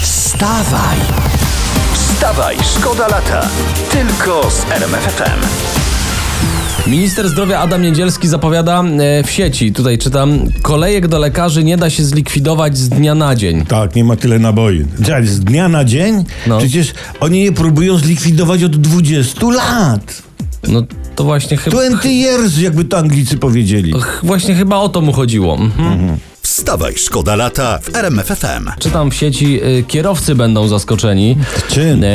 Wstawaj! Wstawaj, szkoda lata. Tylko z RMFFM. Minister zdrowia Adam Niedzielski zapowiada e, w sieci, tutaj czytam, kolejek do lekarzy nie da się zlikwidować z dnia na dzień. Tak, nie ma tyle naboi. Czekaj, z dnia na dzień? No. Przecież oni je próbują zlikwidować od 20 lat. No to właśnie chyba... 20 years, jakby to Anglicy powiedzieli. Ch- Właśnie chyba o to mu chodziło. Mhm. Wstawaj, szkoda lata w RMFFM. Czytam w sieci, y, kierowcy będą zaskoczeni. Czym? E,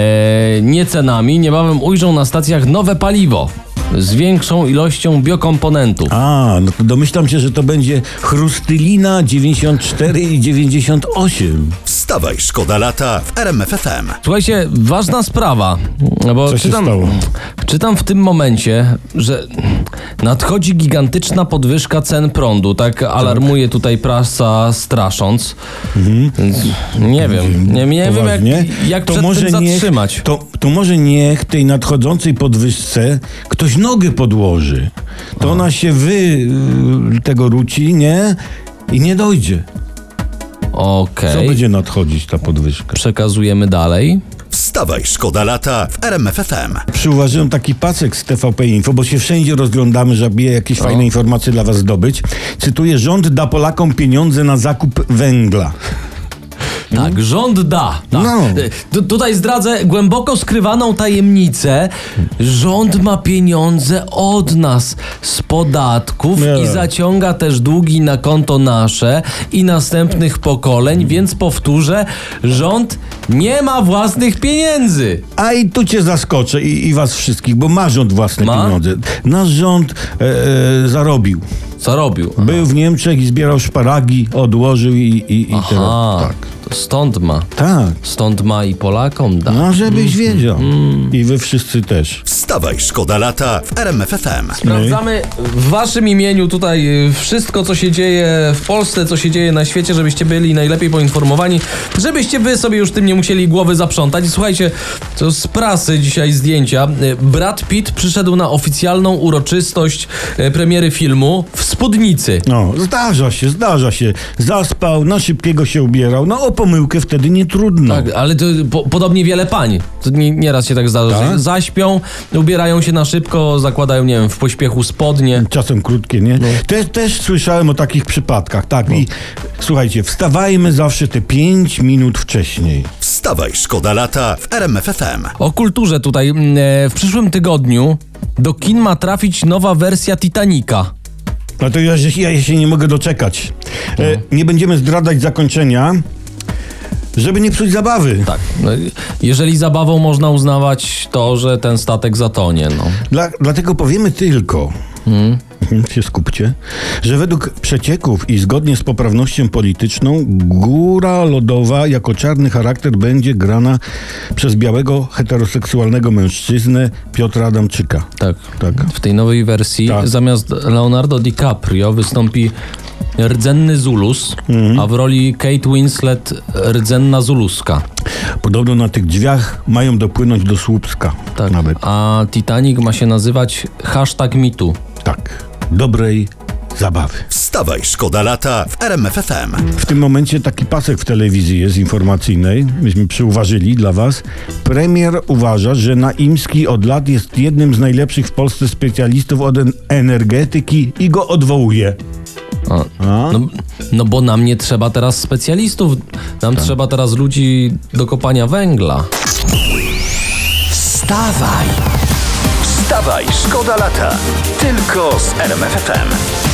nie cenami, niebawem ujrzą na stacjach nowe paliwo z większą ilością biokomponentów. A, no to domyślam się, że to będzie chrustylina 94 i 98. Wstawaj, szkoda lata w RMFFM. Słuchajcie, ważna sprawa, no bo Co się czytam, stało? czytam w tym momencie, że nadchodzi gigantyczna podwyżka cen prądu, tak alarmuje tutaj prasa strasząc. Więc Nie wiem, nie, nie wiem jak, Mhm. Poważnie? jak przed tym niech- zatrzymać. To, to może niech tej nadchodzącej podwyżce ktoś nogę podłoży. To ona się wy y, tego ruci, nie? I nie dojdzie. Co Okej, będzie nadchodzić ta podwyżka? przekazujemy dalej. Wstawaj, szkoda lata w RMFFM. Przyuważyłem taki pasek z TVP Info, bo się wszędzie rozglądamy, żeby jakieś No. fajne informacje dla was zdobyć. Cytuję, rząd da Polakom pieniądze na zakup węgla. Tak, rząd da. Tak. Mhm. No. Y, Tu, tutaj zdradzę głęboko skrywaną tajemnicę. Rząd ma pieniądze od nas z podatków Nie. i zaciąga też długi na konto nasze i następnych pokoleń, więc powtórzę, rząd nie ma własnych pieniędzy. A i tu cię zaskoczę i, i was wszystkich, bo ma rząd własne Ma? pieniądze. Nasz rząd e, e, zarobił. Co robił? Był w Niemczech i zbierał szparagi, odłożył i, i, i A, teraz... Tak. to stąd ma. Tak. Stąd ma i Polakom da. No, Mm. żebyś wiedział. I wy wszyscy też. Wstawaj, szkoda lata w RMFFM. Sprawdzamy w waszym imieniu tutaj y, wszystko, co się dzieje w Polsce, co się dzieje na świecie, żebyście byli najlepiej poinformowani, żebyście wy sobie już tym nie musieli głowy zaprzątać. Słuchajcie, to z prasy dzisiaj zdjęcia. Y, Brad Pitt przyszedł na oficjalną uroczystość y, premiery filmu w spódnicy. No, zdarza się, zdarza się. Zaspał, na szybkiego się ubierał. No, o pomyłkę wtedy nie trudno. Tak, ale to po, podobnie wiele pań. To nie, nieraz się tak zdarza. Tak? że Zaśpią, ubierają się na szybko, zakładają, nie wiem, w pośpiechu spodnie. Czasem krótkie, nie? Te, też słyszałem o takich przypadkach, tak. I słuchajcie, wstawajmy zawsze te 5 minut wcześniej. Wstawaj, szkoda lata w RMFFM. O kulturze tutaj. mm, e, W przyszłym tygodniu do kin ma trafić nowa wersja Titanica. No to ja, się- ja się nie mogę doczekać. E, nie będziemy zdradzać zakończenia, żeby nie psuć zabawy. Tak. no i Jeżeli zabawą można uznawać to, że ten statek zatonie, no. Dla, dlatego powiemy tylko, Mhm, się skupcie, że według przecieków i zgodnie z poprawnością polityczną góra lodowa jako czarny charakter będzie grana przez białego heteroseksualnego mężczyznę Piotra Adamczyka. Tak. Tak. W tej nowej wersji Tak. zamiast Leonardo DiCaprio wystąpi rdzenny Zulus, Mhm. a w roli Kate Winslet rdzenna Zuluska. Podobno na tych drzwiach mają dopłynąć do Słupska. Tak. Nawet. A Titanic ma się nazywać hashtag mitu. Tak. Dobrej zabawy. Wstawaj, szkoda lata w RMFFM. W tym momencie taki pasek w telewizji jest informacyjnej. Myśmy przyuważyli dla was. Premier uważa, że Naimski od lat jest jednym z najlepszych w Polsce specjalistów od en- energetyki i go odwołuje. A, A? No, no bo nam nie trzeba teraz specjalistów, nam trzeba teraz ludzi do kopania węgla. Wstawaj! Wstawaj, szkoda lata! Tylko z RMFFM.